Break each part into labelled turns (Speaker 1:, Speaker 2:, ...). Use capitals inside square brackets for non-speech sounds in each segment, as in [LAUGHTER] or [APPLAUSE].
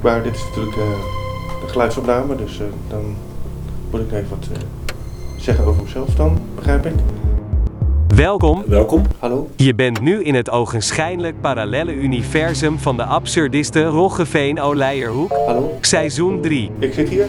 Speaker 1: Maar dit is natuurlijk eh, de geluidsopname, dus eh, dan moet ik even wat eh, zeggen over mezelf dan, begrijp ik.
Speaker 2: Welkom,
Speaker 3: Welkom.
Speaker 1: Hallo?
Speaker 2: je bent nu in het ogenschijnlijk parallelle universum van de absurdiste Roggeveen Oleierhoek,
Speaker 1: Hallo?
Speaker 2: seizoen 3.
Speaker 1: Ik zit hier.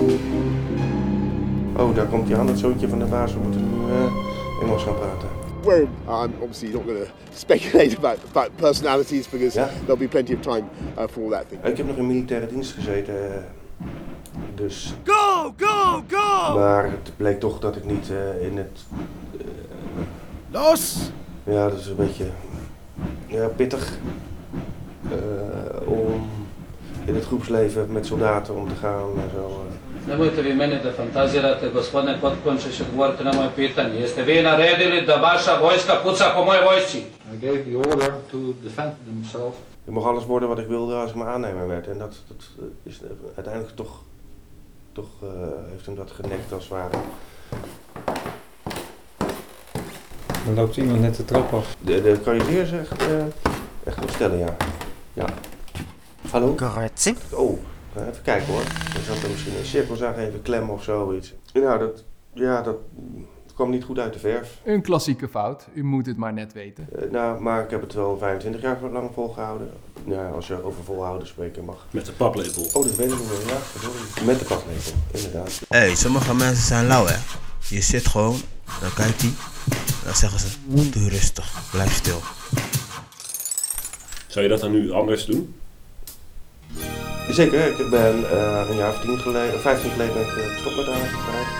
Speaker 1: Oh, daar komt die aan, het zoontje van de baas. We moeten nu eh, Engels gaan praten.
Speaker 4: Well, I'm obviously not going to [LAUGHS] speculate about, about personalities because
Speaker 1: Yeah.
Speaker 4: there'll be plenty of time uh, for all that thing.
Speaker 1: Ik heb nog in militaire dienst gezeten. eh, Dus. Go, go, go! Maar het bleek toch dat ik niet eh, in het. Los! Ja, dat is een beetje. Ja, pittig. eh, om in het groepsleven met soldaten om te gaan en zo. eh.
Speaker 5: Nemojte vi mene da fantazirate, gospodine Potkončić, odgovorite na moje pitanje. Jeste vi naredili da vaša vojska puca po moje vojsci?
Speaker 6: I gave the order to defend themselves.
Speaker 1: Ik mocht alles worden wat ik wilde als ik maar aannemer werd. En dat, dat eh, is eh, uiteindelijk toch. toch eh, heeft hem dat genekt als het ware.
Speaker 7: Er loopt iemand net de trap af.
Speaker 1: De, de carrière is echt, eh, echt op stellen, ja. Ja. Hallo?
Speaker 8: Kortzi.
Speaker 1: Oh, eh, even kijken hoor. Er zat er misschien een cirkel, zag even klem of zoiets. Nou, dat, ja, dat kwam niet goed uit de verf.
Speaker 9: Een klassieke fout, u moet het maar net weten.
Speaker 1: Eh, nou, maar ik heb het wel 25 jaar lang volgehouden. Ja, als je over volhouden spreken mag.
Speaker 3: Met de paplepel.
Speaker 1: Oh, dat weet ik nog wel, ja. verdorie. Met de paplepel, inderdaad.
Speaker 8: Hé, hey, sommige mensen zijn lauw, hè. Je zit gewoon, dan kijkt hij, dan zeggen ze, doe rustig, blijf stil.
Speaker 3: Zou je dat dan nu anders doen?
Speaker 1: Zeker, ik ben eh, een jaar of tien geleden, 15 geleden ben ik eh, gestopt met aangekregen.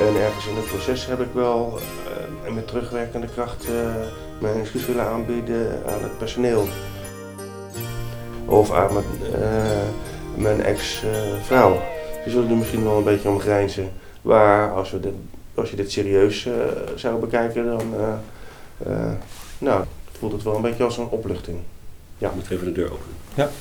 Speaker 1: En ergens in het proces heb ik wel eh, en met terugwerkende kracht eh, mijn excuus willen aanbieden aan het personeel. Of aan mijn, eh, mijn ex-vrouw. Ze zullen er misschien wel een beetje om grijnzen. Maar als, we dit, als je dit serieus eh, zou bekijken, dan eh, eh, nou, voelt het wel een beetje als een opluchting.
Speaker 3: Ik moet even de deur openen.